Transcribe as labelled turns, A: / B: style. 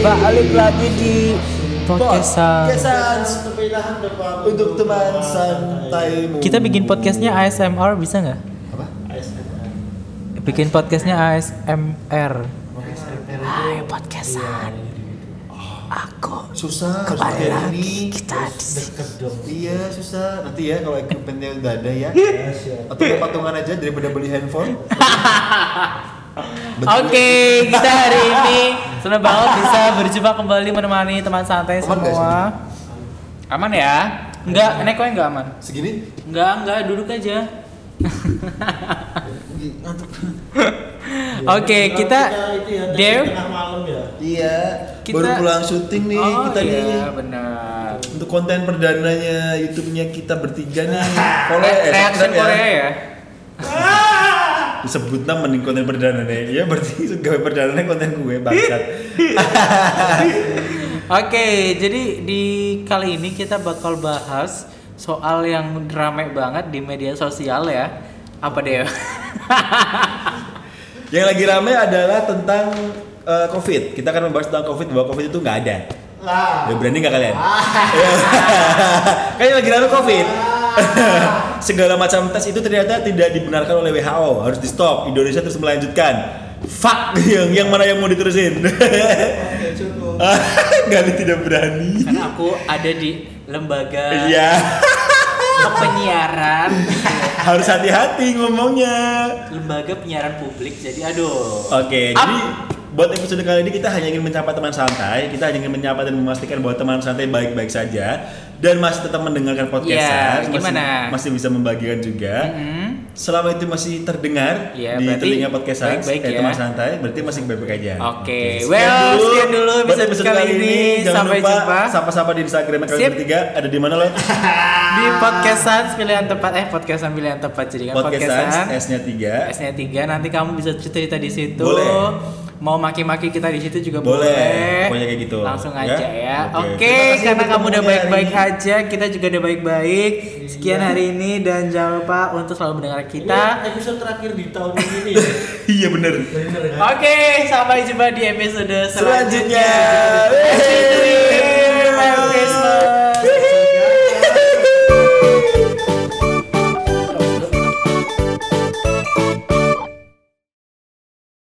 A: balik lagi di
B: Podcastan.
A: Podcastan untuk teman santaimu.
B: Kita bikin podcastnya ASMR bisa nggak?
A: apa?
B: Bikin podcastnya ASMR. Hai podcastan. Iya. Aku
A: Susah. Kembali lagi kita Iya susah. Nanti ya kalau equipmentnya udah ada ya. Atau ya patungan aja daripada beli handphone.
B: Oke, kita hari ini senang banget bisa berjumpa kembali menemani teman santai
A: Aman nggak
B: semua. Aman ya? Enggak, neko enggak aman.
A: Segini.
B: Enggak, enggak, duduk aja. Oke, kita
C: ya,
A: ya,
B: Dev
A: Iya.
B: Kita-
A: Baru pulang syuting nih
B: oh,
A: kita
B: iya,
A: nih.
B: benar.
A: Untuk konten perdananya YouTube-nya kita bertiga nih. Follow
B: Re-
A: ya,
B: reaction
A: subscribe
B: Eh,
A: ya.
B: Korea ya.
A: disebut nama mending konten perdana nih ya berarti gawe perdana nih konten gue bangsat
B: Oke, jadi di kali ini kita bakal bahas soal yang rame banget di media sosial ya. Apa deh?
A: yang lagi rame adalah tentang eh, covid kita akan membahas tentang covid bahwa covid itu nggak ada ya berani nggak kalian kan yang lagi rame covid segala macam tes itu ternyata tidak dibenarkan oleh WHO harus di stop Indonesia terus melanjutkan fuck yang yang mana yang mau diterusin Gali tidak berani
B: Karena aku ada di lembaga
A: Iya,
B: penyiaran,
A: harus hati-hati ngomongnya.
B: lembaga penyiaran publik. Jadi aduh.
A: Oke,
B: Up.
A: jadi buat episode kali ini kita hanya ingin menyapa teman santai, kita hanya ingin menyapa dan memastikan bahwa teman santai baik-baik saja dan masih tetap mendengarkan podcast
B: Iya,
A: Sars,
B: gimana?
A: masih, masih bisa membagikan juga.
B: Hmm.
A: Selama itu masih terdengar
B: Iya,
A: di
B: berarti
A: telinga podcast Sars,
B: baik-baik
A: eh,
B: ya.
A: teman santai, berarti masih baik-baik aja.
B: Oke, well, sekian dulu
A: buat
B: episode kali ini.
A: Jangan
B: Sampai
A: lupa
B: jumpa.
A: sapa-sapa di Instagram kami
B: Sip.
A: bertiga ada di mana lo?
B: Di podcastan pilihan tepat eh podcastan pilihan tepat jadi kan
A: podcast Sars,
B: podcastan.
A: S-nya 3.
B: S-nya 3 E nanti kamu bisa cerita-cerita di situ.
A: Boleh.
B: Mau maki-maki kita di situ juga boleh.
A: Boleh. Pokoknya kayak gitu.
B: Langsung
A: Ya?
B: aja ya. Oke,
A: Oke. Terima kasih
B: karena
A: untuk
B: kamu udah
A: temunya hari
B: baik-baik
A: ini. Iya.
B: aja, kita juga udah baik-baik. Sekian hari ini dan jangan lupa untuk selalu mendengar kita.
C: Ini episode terakhir di tahun ini.
A: Iya bener.
C: Bener kan?
B: Oke, sampai jumpa di episode
A: Selanjutnya.
B: selanjutnya.